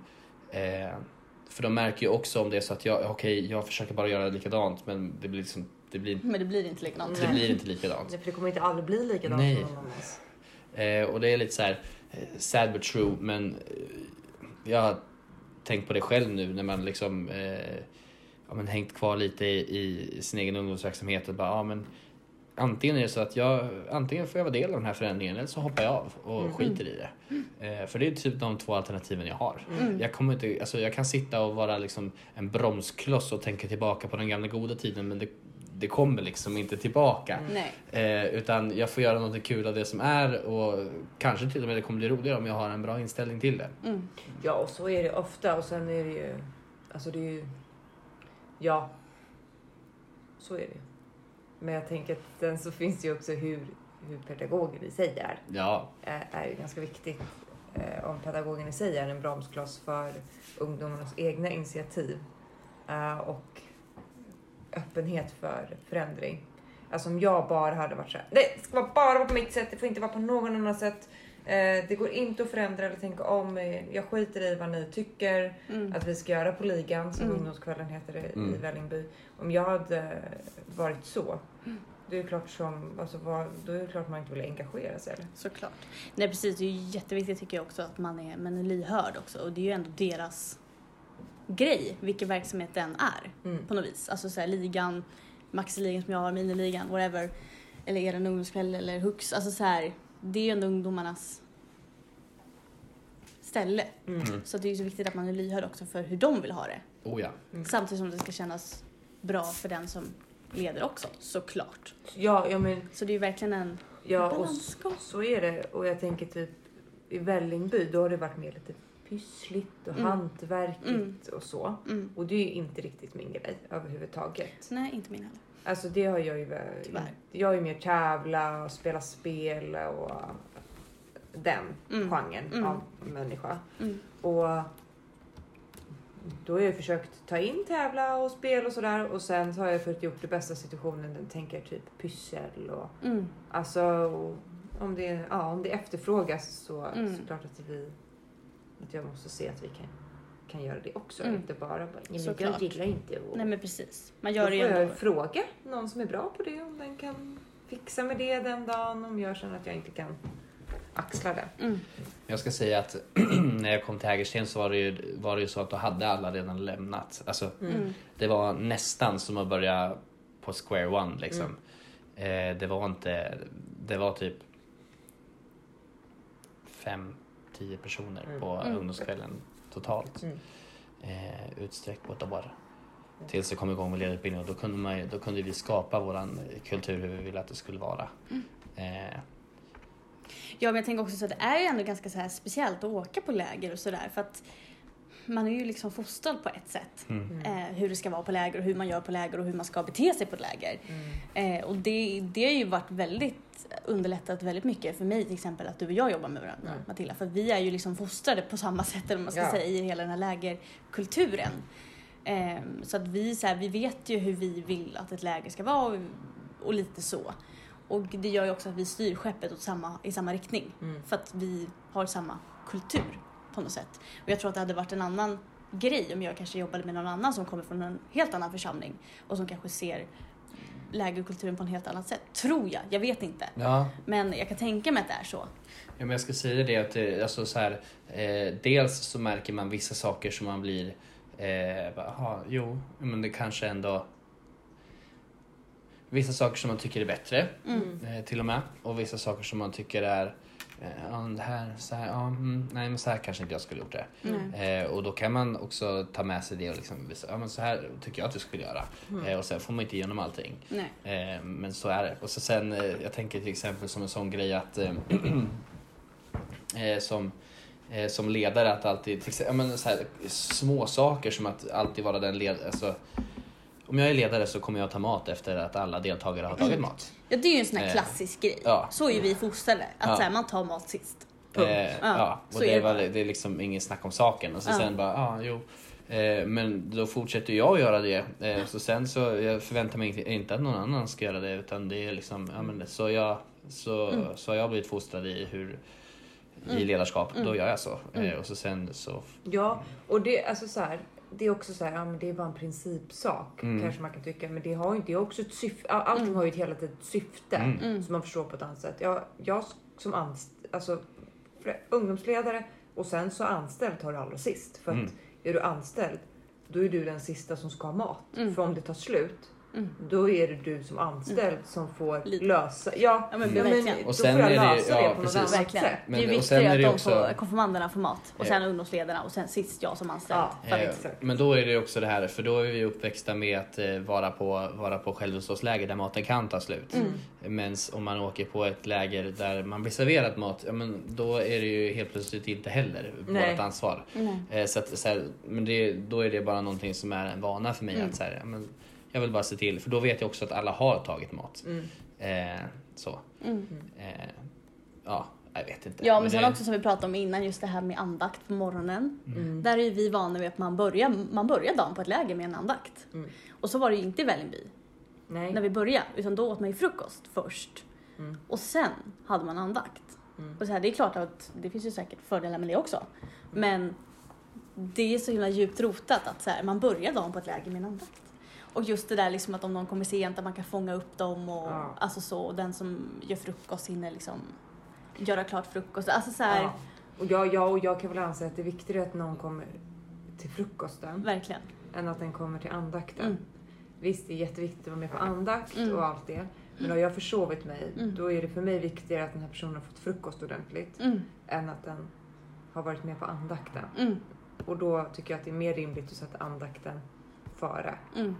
eh, För de märker ju också om det är så att jag, okej, jag försöker bara göra likadant men det blir liksom, det blir, Men det blir inte likadant. det blir inte likadant. Nej, för det kommer inte aldrig bli likadant Nej. som någon annan. Eh, och det är lite så här eh, sad but true men eh, jag har tänkt på det själv nu när man liksom eh, ja, men hängt kvar lite i, i sin egen ungdomsverksamhet och bara ja men antingen är det så att jag antingen får jag vara del av den här förändringen eller så hoppar jag av och skiter i det. Eh, för det är typ de två alternativen jag har. Mm. Mm, Jag, kommer inte, alltså, jag kan sitta och vara liksom en bromskloss och tänka tillbaka på den gamla goda tiden men det, det kommer liksom inte tillbaka. Nej. Eh, utan jag får göra något kul av det som är och kanske till och med det kommer bli roligare om jag har en bra inställning till det. Mm, Ja, och så är det ofta och sen är det ju... Alltså det är ju... Ja. Så är det ju. Men jag tänker att sen så finns det ju också hur, hur pedagogen i sig är. Ja, Är, är ju ganska viktigt. Eh, om pedagogen i sig är en bromskloss för ungdomarnas egna initiativ. Eh, och öppenhet för förändring. Alltså om jag bara hade varit såhär, det ska vara bara vara på mitt sätt, det får inte vara på någon annan sätt. Eh, det går inte att förändra eller tänka om. Eh, Jag skiter i vad ni tycker mm. att vi ska göra på ligan som ungdomskvällen heter i, i Mm. Vällingby. Om jag hade varit så, då är det klart som, alltså, vad, då är det klart man inte vill engagera sig. Eller? Såklart. Nej precis, det är ju jätteviktigt tycker jag också att man är men är lyhörd också och det är ju ändå deras grej, vilken verksamhet den är Mm. på något vis. Alltså så här, ligan, maxiligan som jag har, miniligan, whatever. Eller er ungdomskväll eller hux. Alltså så här, det är ju ändå ungdomarnas ställe. Mm. Så det är ju så viktigt att man är lyhörd också för hur de vill ha det. oh ja. Samtidigt som det ska kännas bra för den som leder också, såklart. Ja, ja, men, Så det är ju verkligen en ja och s- balansgång. så är det. Och jag tänker typ i Vällingby, då har det varit mer lite pyssligt och Mm. hantverkigt Mm. och så. Mm. Och det är ju inte riktigt min grej överhuvudtaget. Så nej, inte min heller. Alltså det har jag ju... Tyvärr. Jag är ju mer tävla och spela spel och den Mm. genren Mm. av människa. Mm. Och då har jag försökt ta in tävla och spel och sådär och sen så har jag försökt gjort det bästa av situationen. Den tänker typ pyssel och Mm. alltså och om det, ja, om det efterfrågas så Mm. såklart att vi att jag måste se att vi kan, kan göra det också. Mm. Inte bara bara, "Nej, men Såklart. jag gillar inte och, Nej men precis. Man Då gör får det ju ändå. jag fråga någon som är bra på det om den kan fixa med det den dagen om jag känner att jag inte kan axla det. Mm. Jag ska säga att när jag kom till Hägersten så var det, ju, var det ju så att då hade alla redan lämnat. Alltså, Mm. Det var nästan som att börja på square one liksom. Eh, det var inte, det var typ fem, tio personer Mm. på Mm. ungdomskvällen totalt. Mm. Eh, utsträckt på ett år. Tills det kom igång med ledarutbildningen och då kunde, man, ju- då kunde vi skapa våran kultur hur vi ville att det skulle vara. Eh, Ja men jag tänker också så att det är ju ändå ganska så här speciellt att åka på läger och sådär för att man är ju liksom fostrad på ett sätt. mm. Mm. Eh, hur det ska vara på läger och hur man gör på läger och hur man ska bete sig på ett läger. Mm. Eh, och det, det har ju varit väldigt underlättat väldigt mycket för mig till exempel att du och jag jobbar med varandra Mm. Matilda. För vi är ju liksom fostrade på samma sätt eller vad man ska Ja. säga i hela den här lägerkulturen. Ehm, så att vi, så här, vi vet ju hur vi vill att ett läger ska vara och, och lite så. Och det gör ju också att vi styr skeppet åt samma, i samma riktning. Mm. För att vi har samma kultur på något sätt. Och jag tror att det hade varit en annan grej om jag kanske jobbade med någon annan som kommer från en helt annan församling och som kanske ser lägerkulturen på en helt annat sätt. Tror jag, jag vet inte. ja, Men jag kan tänka mig att det är så. Ja, men jag ska säga det att det, alltså så här, eh, dels så märker man vissa saker som man blir, eh, bara, aha, jo, men det kanske ändå Vissa saker som man tycker är bättre Mm. Mm. eh, till och med och vissa saker som man tycker är eh, ja, det här, så här, ja, mm, nej men så här kanske inte jag skulle gjort det. Eh, och då kan man också ta med sig det och liksom visa, ja men så här tycker jag att du skulle göra. Mm. Eh, och sen får man inte igenom allting. Nej. Eh, men så är det. Och så sen, eh, jag tänker till exempel som en sån grej att eh, eh, som, eh, som ledare att alltid, till exempel, ja, men så här, små saker som att alltid vara den ledare, alltså, om jag är ledare så kommer jag ta mat efter att alla deltagare har tagit mat. Ja, det är ju en sån här Eh, klassisk grej. ja. Så är ju vi fostrade. Att Ja. så här, man tar mat sist. Eh, Ja, ja, så och är det, det var, bara. det är liksom ingen snack om saken. Och så Ja. sen bara, ja, ah, jo. Eh, men då fortsätter jag att göra det. Eh, så sen så, jag förväntar mig inte, inte att någon annan ska göra det. Utan det är liksom, ja men det- så jag, så, Mm. så har jag blivit fostrad i hur Mm. i ledarskap, då gör jag så. Eh, och så sen så, Ja, och det, alltså så här, det är också så här, ja, men det är bara en principsak Mm. kanske man kan tycka, men det har ju inte, det har också ett syfte. all- Allting Mm. har ju ett hela tiden ett syfte Mm. som man förstår på ett annat sätt. Jag, jag som anst, alltså för- ungdomsledare och sen så anställd tar du allra sist för att Mm. är du anställd, då är du den sista som ska ha mat. Mm. För om det tar slut, Mm. då är det du som anställd som får Lite. lösa. Ja, Ja, men ja, verkligen. då Och sen får jag är det- lösa ja, det på något precis. annat Verkligen. sätt. det är Men- och viktigt sen är att det de också- får, konfirmanderna får mat och Ja. sen ungdomsledarna och sen sist jag som anställd. Ja, För att- Eh, exakt. men då är det ju också det här, för då är vi uppväxta med att eh, vara på, vara på självhushållsläger där maten kan ta Mm. slut. Mm. Men om man åker på ett läger där man blir serverad mat, ja, men då är det ju helt plötsligt inte heller Nej. vårt ansvar. Nej. Eh, så att, så här, men det, då är det bara någonting som är en vana för mig. Mm. Att, så här, ja, men, jag vill bara se till, för då vet jag också att alla har tagit mat. Mm. Eh, så. Mm. Eh, ja, jag vet inte. Ja, men sen det- också som vi pratade om innan, just det här med andakt på morgonen. Mm. Där är ju vi vana vid att man börjar, man börjar dagen på ett läger med en andakt. Mm. Och så var det ju inte i Vällingby Nej. när vi började, utan då åt man ju frukost först. Mm. Och sen hade man andakt. Mm. Och så här, det är klart att det finns ju säkert fördelar med det också. Men det är så himla djupt rotat att så här, man börjar dagen på ett läger med en andakt. Och just det där liksom att om någon kommer sent, att man kan fånga upp dem och Ja. alltså så. Och den som gör frukost hinner liksom göra klart frukost. Alltså så här, Ja. Och jag, jag, och jag kan väl anse att det är viktigare att någon kommer till frukosten verkligen. än att den kommer till andakten. Mm. Visst, det är jätteviktigt att vara med på andakt Mm. och allt det. Men har jag försovit mig, Mm. då är det för mig viktigare att den här personen har fått frukost ordentligt Mm, än att den har varit med på andakten. mm, Och då tycker jag att det är mer rimligt att sätta andakten före mm.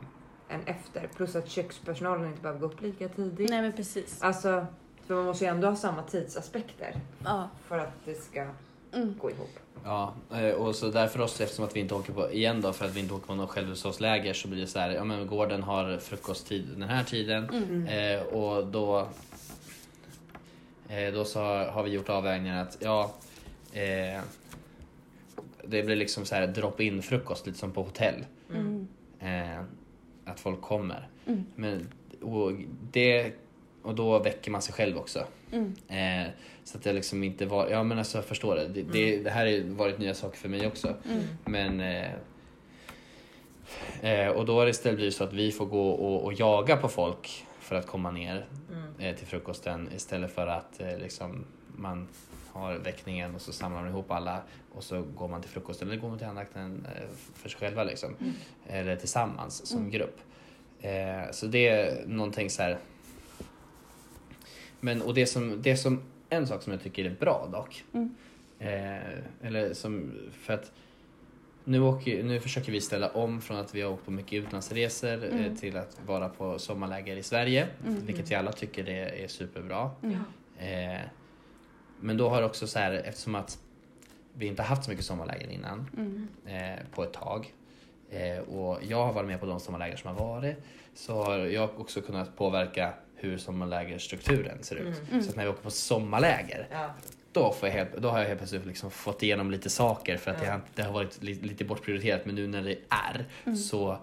än efter. Plus att kökspersonalen inte behöver gå upp lika tidigt. Nej men precis. Alltså, för man måste ju ändå ha samma tidsaspekter Ja. för att det ska Mm. gå ihop. Ja, eh, och så därför oss, eftersom att vi inte åker på, igen då, för att vi inte åker på något självhushållsläger så blir det så här, ja men gården har frukosttid den här tiden Mm. Mm. eh, och då eh, då så har, har vi gjort avvägningen att ja eh, det blir liksom så här drop-in frukost lite som på hotell. Mm. Eh, att folk kommer. Mm. Men, och, det, och då väcker man sig själv också. Mm. Eh, så att jag liksom inte var, ja men alltså jag förstår det. Det, det, det här har varit nya saker för mig också. Mm. Men eh, eh, och då har det istället blivit så att vi får gå och, och jaga på folk för att komma ner Mm. eh, till frukosten istället för att eh, liksom man har väckningen och så samlar man ihop alla och så går man till frukosten eller går man till andakten eh, för sig själva liksom. Eller tillsammans som grupp. Eh, så det är någonting så här. Men och det som, det som, en sak som jag tycker är bra dock. Mm. Eh, eller som, för att nu, åker, nu försöker vi ställa om från att vi har åkt på mycket utlandsresor eh, till att vara på sommarläger i Sverige, vilket vi alla tycker är, är superbra. Mm. Mm. Eh, men då har också så här, eftersom att vi inte har haft så mycket sommarläger innan Mm. eh, på ett tag eh, och jag har varit med på de sommarläger som har varit så har jag också kunnat påverka hur sommarlägerstrukturen ser ut. Mm. Så att när vi åker på sommarläger Mm. Ja. då, får jag helt, då har jag helt plötsligt liksom fått igenom lite saker för att det, Ja. har, det har varit li, lite bortprioriterat men nu när det är Mm. så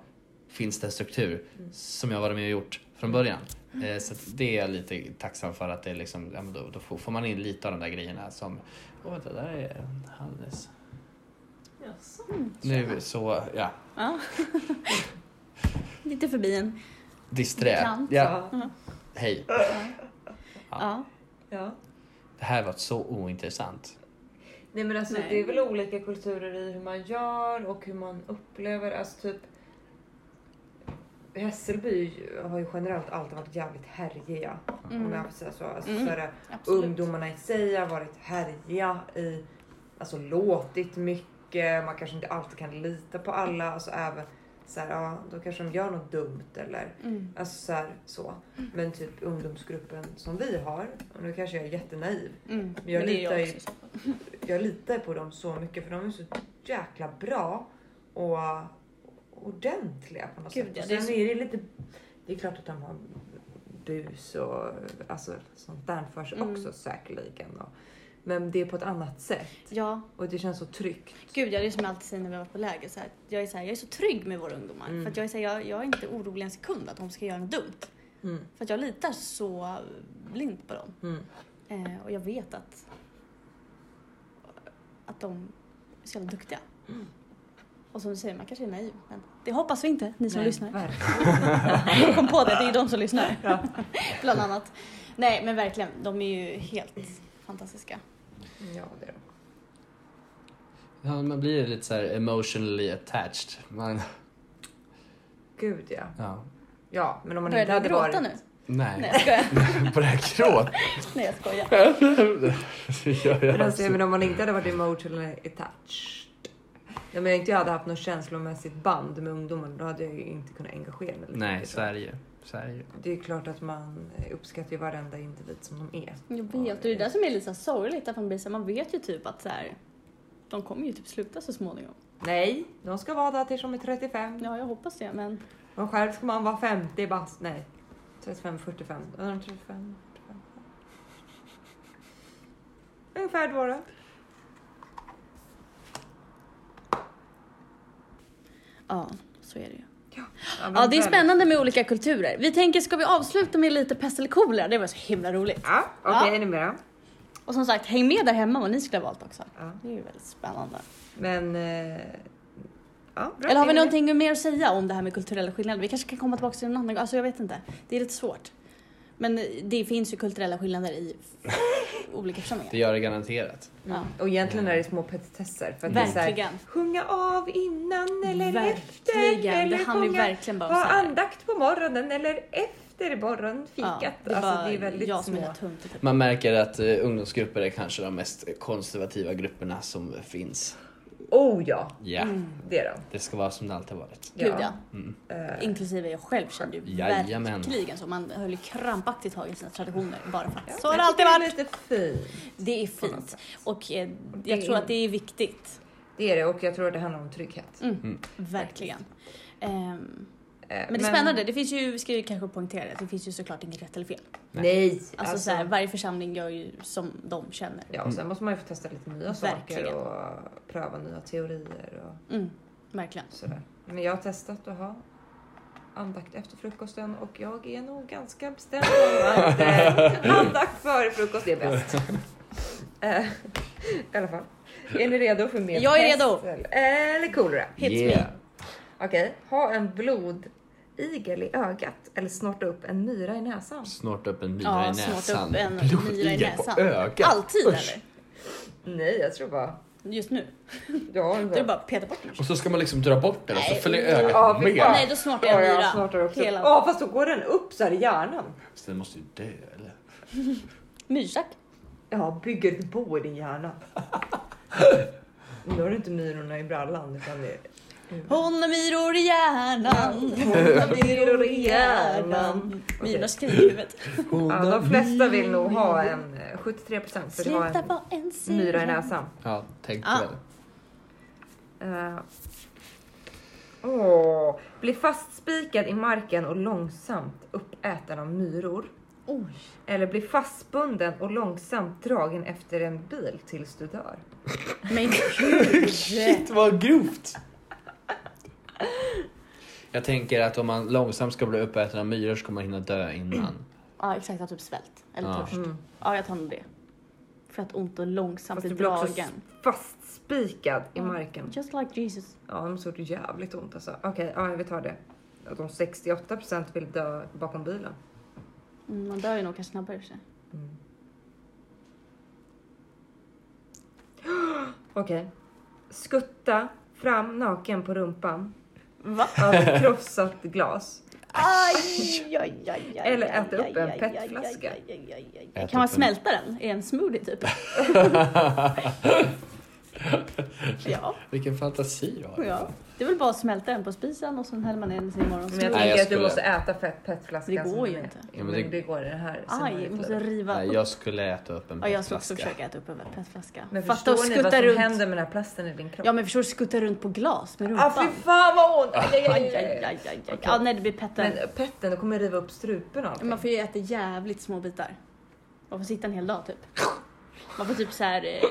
finns det en struktur som jag varit med och gjort från början. Eh, så att det är jag lite tacksam för att det är liksom, ja, men då, då får- får man in lite av de där grejerna som, åh vänta där är Hannes. Nu så, ja, Ja. Lite förbi en. disträ. Bekant. Ja, hej. Ja. Ja. Ja. Det här var så ointressant. Nej men alltså Nej. det är väl olika kulturer i hur man gör och hur man upplever. Alltså typ Hässelby har ju generellt alltid varit jävligt härjiga. Om jag får säga så. Alltså, Mm. så här, Absolut. ungdomarna i sig har varit härjiga i, alltså låtit mycket. Man kanske inte alltid kan lita på alla. Alltså även så här, ja då kanske de gör något dumt eller Mm. alltså så här så. Men typ ungdomsgruppen som vi har, och nu kanske jag är jättenaiv. Mm. Men jag Men det är litar ju- också så. jag litar på dem så mycket för de är så jäkla bra och ordentliga på något Gud, sätt. ja, och det sen är är, så- det lite... Det är klart att de har bus och alltså, sånt där för sig Mm. också säkerligen. Och, men det är på ett annat sätt Ja, och det känns så tryggt. Gud, ja, det är som jag alltid säger när vi har varit på läger. Så här, jag, är så här, jag är så trygg med våra ungdomar. Mm. För att jag, är så här, jag, jag är inte orolig en sekund att de ska göra något dumt. Mm, För att jag litar så blint på dem. mm, Eh, och jag vet Mm. att, att de är så jävla duktiga. Och som du säger, man kanske är naiv. Men det hoppas vi inte, ni som Nej, lyssnar. verkligen. Jag kom på det, det är de som lyssnar. Bland annat. Nej men verkligen, de är ju helt fantastiska. Ja, det är de. Ja, man blir lite så här emotionally attached. Man, Gud ja. ja. Ja, men om man Börjar inte du hade gråta varit... nu? Nej. Nej jag skojar. På det här gråt. Nej, jag skojar. Det gör jag Men, alltså, jag absolut. menar, om man inte hade varit emotionally attached. Jag menar inte jag hade haft något känslomässigt band med ungdomen. Då hade jag ju inte kunnat engagera mig. lika Nej, mycket. så är det ju. Så är det ju. Det är ju klart att man eh, uppskattar ju varenda individ som de är. Jag vet, och det är det som är lite så här sorgligt. Att man, blir så här, man vet ju typ att så här, de kommer ju typ sluta så småningom. Nej, de ska vara där tills de är 35. Ja, jag hoppas det, men Och själv ska man vara 50 bast. Nej, 35, 45. Undrar om 35, 45. Ungefär då då. ja, så är det ju. men Ja, det är väl. spännande med olika kulturer. Vi tänker, ska vi avsluta med lite pest eller kolera? Det var så himla roligt. Ja, okej, Ja. är ni med då? Och som sagt, häng med där hemma vad ni skulle ha valt också. Ja. Det är ju väldigt spännande. Men... Eh, ja, bra. Eller har vi Är ni med? någonting mer att säga om det här med kulturella skillnader? Vi kanske kan komma tillbaka till en annan gång. Alltså jag vet inte. Det är lite svårt. Men det finns ju kulturella skillnader i olika församlingar. Det gör det garanterat. Ja. Mm. Och egentligen är det små petitesser. För att Det är Verkligen. så här, sjunga av innan eller efter. Verkligen. Eller Det handlar ju sjunga- verkligen bara om ha så här- andakt på morgonen eller efter morgonfikat. Ja, det, alltså, det är väldigt jag som är små. helt tunt i det. Man märker att eh, ungdomsgrupper är kanske de mest konservativa grupperna som finns. Oh ja, Ja, Mm. det är de. det ska vara som det alltid har varit. Mm. Gud ja. Eh, Inklusive jag själv kände ju Jajamän. verkligen så. Man höll ju krampaktigt tag i sina traditioner bara för att så jag har det alltid tycker varit. är lite fint. Det är fint. Och eh, jag tror att det är viktigt. Det är det och jag tror att det handlar om trygghet. Verkligen. Ehm, Eh, men det är spännande. Det finns ju, vi ska ju kanske poängtera det, att det finns ju såklart inget rätt eller fel. Nej! Alltså, alltså, så här, varje församling gör ju som de känner. ja, och sen måste man ju få testa lite nya saker Verkligen. och pröva nya teorier och Mm, verkligen. sådär. Men jag har testat att ha andakt efter frukosten och jag är nog ganska bestämd om att eh, andakt före frukost är bäst. Eh, I alla fall. Är ni redo för mer Jag är pest redo. Eller, eller kolera? Hits Yeah. Okej, ha en blodigel i ögat eller snorta upp en myra i näsan. Snart upp en myra Ja, i snart upp näsan. en Blodigel myra i näsan. på ögat. Alltid Usch. eller? Nej, jag tror bara... Just nu. Ja, Du bara peta bort den. Och så ska man liksom dra bort den och så Nej. följer ögat Ja, fy fan. med. Nej, då snortar jag myra. Ja, snortar också. Hela- Ja, fast då går den upp så här i hjärnan. Så den måste ju dö eller? Myrstack. Ja, bygger ett bo i din hjärna. Nu har du inte myrorna i brallan utan det Hon har myror i hjärnan. Hon har myror i hjärnan. Myrorna skriver i huvudet. ja, de flesta vill nog ha en eh, 73 procent vill ha Sluta en vara en syra. myra i näsan. Ja, tänk Ah. väl. Eh, åh. Bli fastspikad i marken och långsamt uppäten av myror. Oj. Eller bli fastbunden och långsamt dragen efter en bil tills du dör. Men gud. Shit vad grovt! Jag tänker att om man långsamt ska bli uppäten av myror så kommer man hinna dö innan. Ja exakt, jag har typ svält. Eller Ja. törst. Mm. Ja jag tar nog det. För att ont och långsamt Fast blir du blir också dragen. fastspikad i marken. Just like Jesus. Ja, de såg jävligt ont alltså. Okej, ja, vi tar det. Att De 68 procent vill dö bakom bilen. Mm, man dör ju nog kanske snabbare i och för sig. Okej. Skutta fram naken på rumpan Va? över krossat glas. Aj, aj, aj, aj, Eller aj, äta upp aj, en aj, petflaska. aj, aj, aj, aj, Äta aj. upp Kan man en- smälta den i en smoothie typ? ja, Vilken fantasi du har. ja, det är väl bara att smälta den på spisen och sen häller man in sin Men jag morgonsmoothie. Nej, tänker jag att du skulle- måste äta fett petflaskan. Det går som den ju är. inte. Jo, men men det- det... går i det här. Aj, jag måste riva Nej, upp. jag skulle äta upp en Ja, jag ska också petflaska. försöka äta upp en petflaska. Men Fast då förstår ni vad som skuttar runt. händer med den här plasten i din kropp? Ja men förstår du, skutta runt på glas med rumpan. ah, fy fan vad ont! Aj, aj, aj, aj, aj, aj. Okej. Ja, nej det blir petten. Men petten, du kommer riva upp strupen och allting. Man får ju äta jävligt små bitar. Man får sitta en hel dag typ. Man får typ så här eh,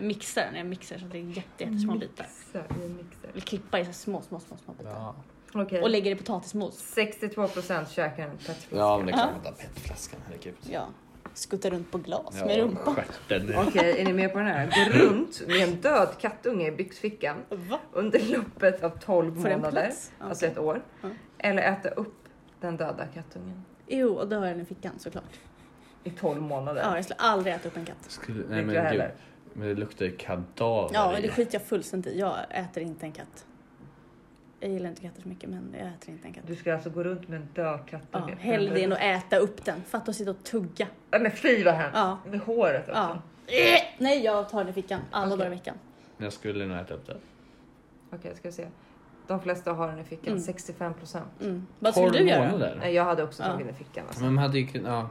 mixa den, jag mixar så att det är jätte, jättesmå bitar. Så här, i en mixer. Eller klippa i så här små, små, små, små bitar. Ja. Okej. Och lägger det i potatismos. 62 procent käkar en petflaska. ja, men det är klart man tar petflaskan. Herregud. Ja. skutta runt på glas med rumpan. stjärten. Okej, är ni med på den här? Gå runt med en död kattunge i byxfickan Va? under loppet av 12 Får den månader, plats? alltså ett år. Ja. Eller äta upp den döda kattungen Jo, och då har jag den i fickan såklart. i 12 månader. Ja, jag skulle aldrig äta upp en katt. Skulle, Inte nej men jag gud. heller. Men det luktar ju kadaver. Ja, i. det skiter jag fullständigt i. Jag äter inte en katt. Jag gillar inte katter så mycket, men jag äter inte en katt. Du ska alltså gå runt med en död Ja, kattunge? hellre det än att äta upp den. Fatta att sitta och tugga. Nej, Men fy vad hemskt! Ja. Med håret också. Ja. Eh, Nej, jag tar den i fickan alla dagar i veckan. Jag skulle nog äta upp det. Okej, ska vi se. De flesta har den i fickan, Mm. 65 procent. Mm. Vad skulle 12 du göra? månader? Nej, jag hade också Ja. tagit den i fickan. Alltså. Men man hade ju kunnat... Ja.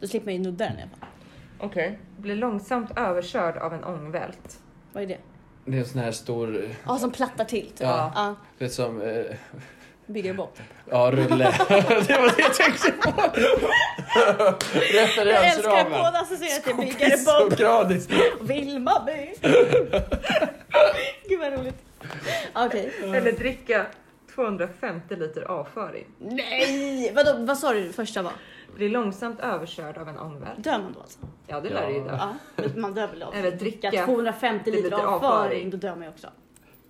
Då slipper man ju nudda den i alla fall. Okej. Blir långsamt överkörd av en ångvält. Vad är det? Det är en sån här stor... eh, Ja, som plattar till. Typ. Ja. Ja, Du vet som... eh, bygger bort. Ja, rulle. det var det jag tänkte på. Rättare Jag ens älskar ramen. båda associerat till bygger Kompis bort. och gradis. Vilma By. Gud vad roligt. Okej. Eller dricka 250 liter avföring. Nej! Vadå, vad sa du första var? Blir långsamt överkörd av en ångvält. Dör man då alltså? Ja, det Ja. lär du ju dö. Ja, men man dör väl av Eller dricka dricka 250 liter lite avföring. avföring. Då dör man ju också.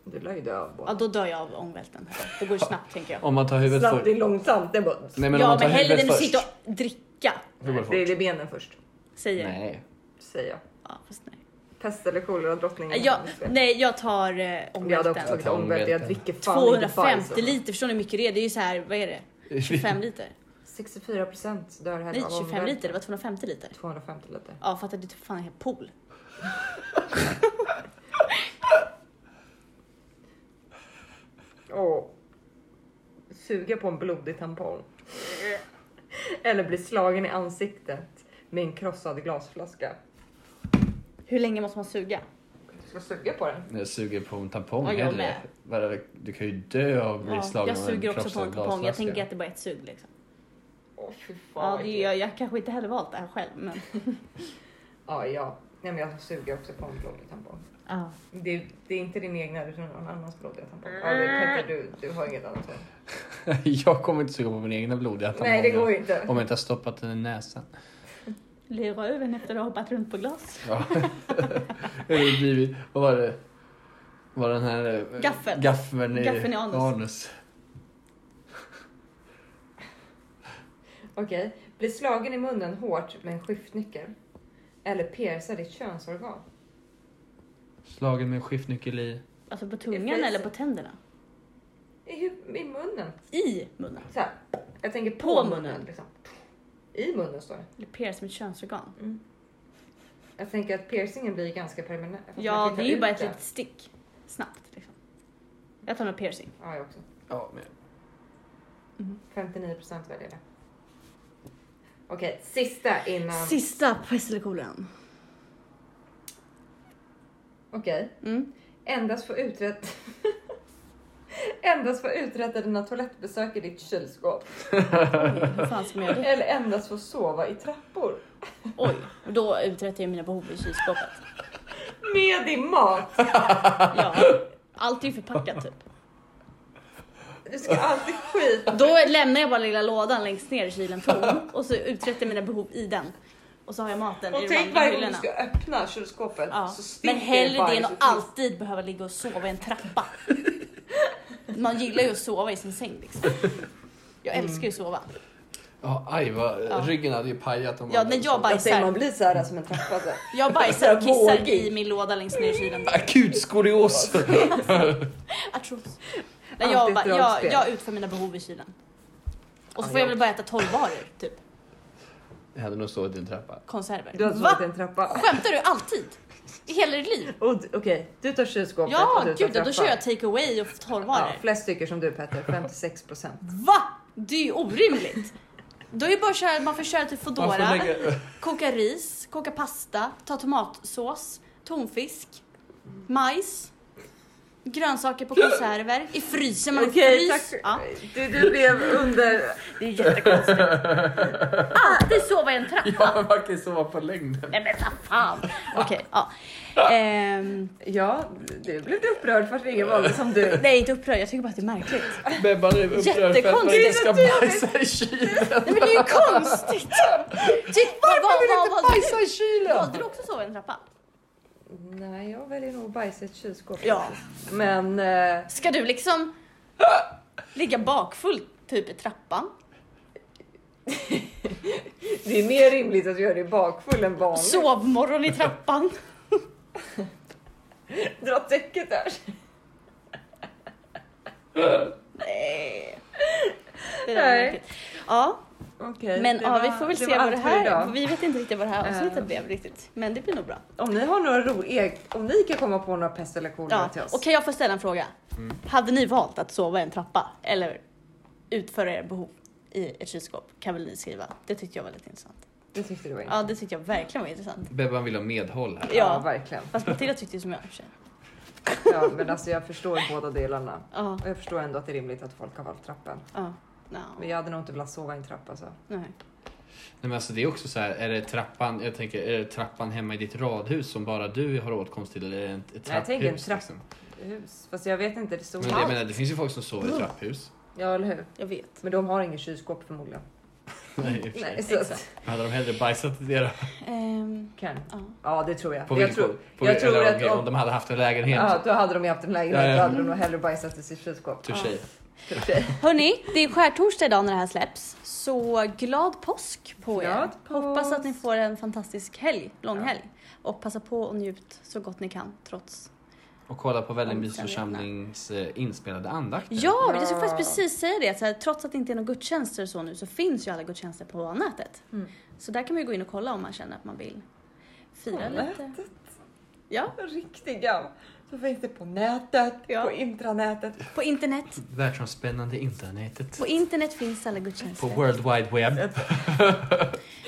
Du lär ju dö av Ja, båda. då dör jag av ångvälten. Det går ju snabbt tänker jag. Om man tar huvudet Snabbt, först. det är långsamt. Det är, bara... Nej men om ja, man tar men hellre än huvudet att först. sitta och dricka. Då går det det fort. är benen först, Säger jag. Nej. säger jag. Ja, fast nej. Pest eller kolera, drottningen. Jag, nej, jag tar eh, Jag hade också ångvälten. tagit ångvält. Jag Ångvälten. dricker fan inte 250 bajs. liter, förstår ni hur mycket det är? Det är ju så här, vad är det? 25 liter? 64 procent dör hellre Nej, av 25 ångvält. liter. Det var 250 liter. 250 liter. Ja, fattar du? Det är typ fan en hel pool. Åh. Suga på en blodig tampong. Eller bli slagen i ansiktet med en krossad glasflaska. Hur länge måste man suga? Du ska suga på den. Jag suger på en tampong Ja, jag med. hellre. Vadå, Du kan ju dö av att bli Ja, slagen jag av en suger också på en krossad tampong. Jag glasflaska. tänker att det bara är ett sug liksom. Åh fy fan. Ja, vad det äckligt. är, jag, jag kanske inte heller valt det här själv, men... ja, ja. Nej, men jag suger också på en blodig tampong. Ja. Det, det är inte din egna utan någon annans blodiga tampong. Ja, det är Petter, du, du har inget annat. val. jag kommer inte suga på min egna blodiga tampong. Nej, det går ju inte. Om jag inte har stoppat den i näsan. Lura över den efter att ha hoppat runt på glas. Ja. det har blivit, vad var det? Var den här... eh, Gaffeln. Gaffeln i, Gaffeln i anus. Okej, bli slagen i munnen hårt med en skiftnyckel. Eller pierca ditt könsorgan. Slagen med en skiftnyckel i. Alltså på I tungan face. eller på tänderna? I, hu- i munnen. I munnen. Så här. Jag tänker på, På munnen. munnen. Liksom. I munnen står det. Eller pierce med könsorgan. Jag tänker att piercingen blir ganska permanent. fast man Ja, kan det ta är ju ut bara ett den. litet stick. Snabbt liksom. Jag tar nog piercing. Ja, jag också. Ja, men 59 procent väljer det. Okej, sista innan... Sista pest eller koleran. Okej. Mm. Endast få uträtt... endast få uträtta dina toalettbesök i ditt kylskåp. Oj, hur fan ska man göra det? Eller endast få sova i trappor. Oj, och då uträttar jag mina behov i kylskåpet. Med din mat! Ja, allt är ju förpackat typ. Du ska alltid skit. Då lämnar jag bara lilla lådan längst ner i kylen tom och så uträttar jag mina behov i den. Och så har jag maten i Och de tänk andra varje gång du hyllorna. ska öppna kylskåpet Ja. så sticker Men hellre det bajs än ut. att alltid behöva ligga och sova i en trappa. Man gillar ju att sova i sin säng liksom. Jag Mm. älskar ju att sova. Ja, aj vad, ryggen hade ju pajat om Ja, när jag Jag säger, bajsar. man blir så här som en trappa. Så. här. Jag bajsar och kissar Vågig. i min låda längst ner i kylen. Akut skolios! Atros. Nej, jag, bara, jag, Antidragspel. jag utför mina behov i kylen. Och så får jag väl börja äta torrvaror, typ. jag hade nog sovit i en trappa. Du Konserver. har sovit i Va? en trappa. Skämtar du alltid? I hela ditt liv? Och d- Okej, du tar kylskåpet och Ja, du tar gud ja, då trappan. kör jag take away och Ja, torrvaror. flest tycker som du Petter, 56 procent. Va? Det är ju orimligt. Då är det bara att köra, man får köra till Man får Foodora, lägga, koka ris, koka pasta, ta tomatsås, tonfisk, majs, grönsaker på konserver i frysen. Man Okej, frys. tack. för- Ja. Du, du blev under... Det är jättekonstigt. Alltid sova i en trappa. Jag har verkligen sova på längden. Nej men vad fan. Okej, ja. Ehm, Ja, du blev upprörd för att ingen valde som du. nej, inte upprörd. Jag tycker bara att det är märkligt. Bebban är upprörd för att man Jättekonstigt. inte ska bajsa i kylen. Nej, men det är ju konstigt. Typ, Varför vill inte bajsa i kylen? Valde du också sova i en trappa? Nej, jag väljer nog bajs i ett kylskåp. Ja. Men... Eh, Ska du liksom ligga bakfull typ i trappan? Det är mer rimligt att du gör dig bakfull än vanligt. Sovmorgon i trappan? Dra täcket där. Nej. Det där Nej. är märkligt. Ja, Okej, men det ja, var- vi får väl det se var vad det allt för här... idag. Vi vet inte riktigt vad det här avsnittet Eh. blev riktigt. Men det blir nog bra. Om ni har några roliga... Om ni kan komma på några pest eller kolera Ja. till oss. Mm. Och kan jag få ställa en fråga? Hade ni valt att sova i en trappa eller utföra era behov i ett kylskåp? Kan väl ni skriva? Det tyckte jag var lite intressant. Det tyckte du var intressant. Ja, det tyckte jag verkligen var intressant. Bebban vill ha medhåll här. Ja. Ja, verkligen. Fast Matilda tyckte ju som jag i och för sig. Ja, men alltså jag förstår båda delarna. Ja, Och jag förstår ändå att det är rimligt att folk har valt trappen. ja. Men No. jag hade nog inte velat sova i en alltså. trappa så. Nej. Nej, men alltså, det är också så här, är det trappan, jag tänker, är det trappan hemma i ditt radhus som bara du har åtkomst till eller är det ett, ett trapphus? jag tänker en trapp- liksom? Hus. Fast jag vet inte, det Men stod... det, jag menar, det finns ju folk som sover i trapphus. Ja, eller hur? Jag vet. Men de har ingen kylskåp förmodligen. Nej, i och för sig. Nej, så att- Exakt. Hade de hellre bajsat i deras... Ehm, kan. ja. Ja, det tror jag. På jag villkor? tror, på, jag tror eller, att om, om- om de hade haft en lägenhet. ja, då hade de ju haft en lägenhet. Ja, Typ. ja. Då hade de nog hellre bajsat i sitt kylskåp. Touché. Touché. Hörni, det är skärtorsdag idag när det här släpps. Så glad påsk på er. Glad påsk. Hoppas att ni får en fantastisk helg, lång helg. Och passa på och njut så gott ni kan trots. Och kolla på Vällingbys Omständigheterna. församlings eh, inspelade andakter. Ja, jag skulle Ja. faktiskt precis säga det. att Så här, trots att det inte är några gudstjänster och så nu så finns ju alla gudstjänster på nätet. Mm. Så där kan man ju gå in och kolla om man känner att man vill fira På lite. Ja, Riktiga. Så finns det på nätet, Ja. på intranätet. på internet. Världsomspännande internetet. På internet finns alla På gudstjänster. World Wide Web.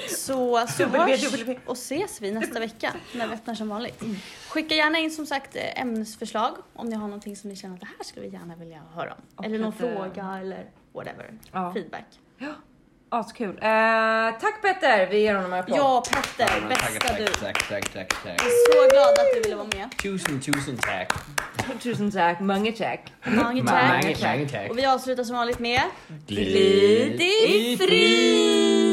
Så, så W, hörs W. Mm. och ses vi nästa vecka när vi öppnar som vanligt. Skicka gärna in som sagt eh, ämnesförslag om ni har någonting som ni känner att det här skulle vi gärna vilja höra om. Och eller någon lite- fråga eller whatever. Ja. Feedback. Askul. Eh, tack Petter, vi ger honom en applåd. Ja Petter, men bästa tack, du. Tack, tack, tack, tack. Så glad att du ville vara med. Tusen, tusen tack. Tusen tack, många tack. Mange Mange, tack. mange tack. Och vi avslutar som vanligt med Glid i frid!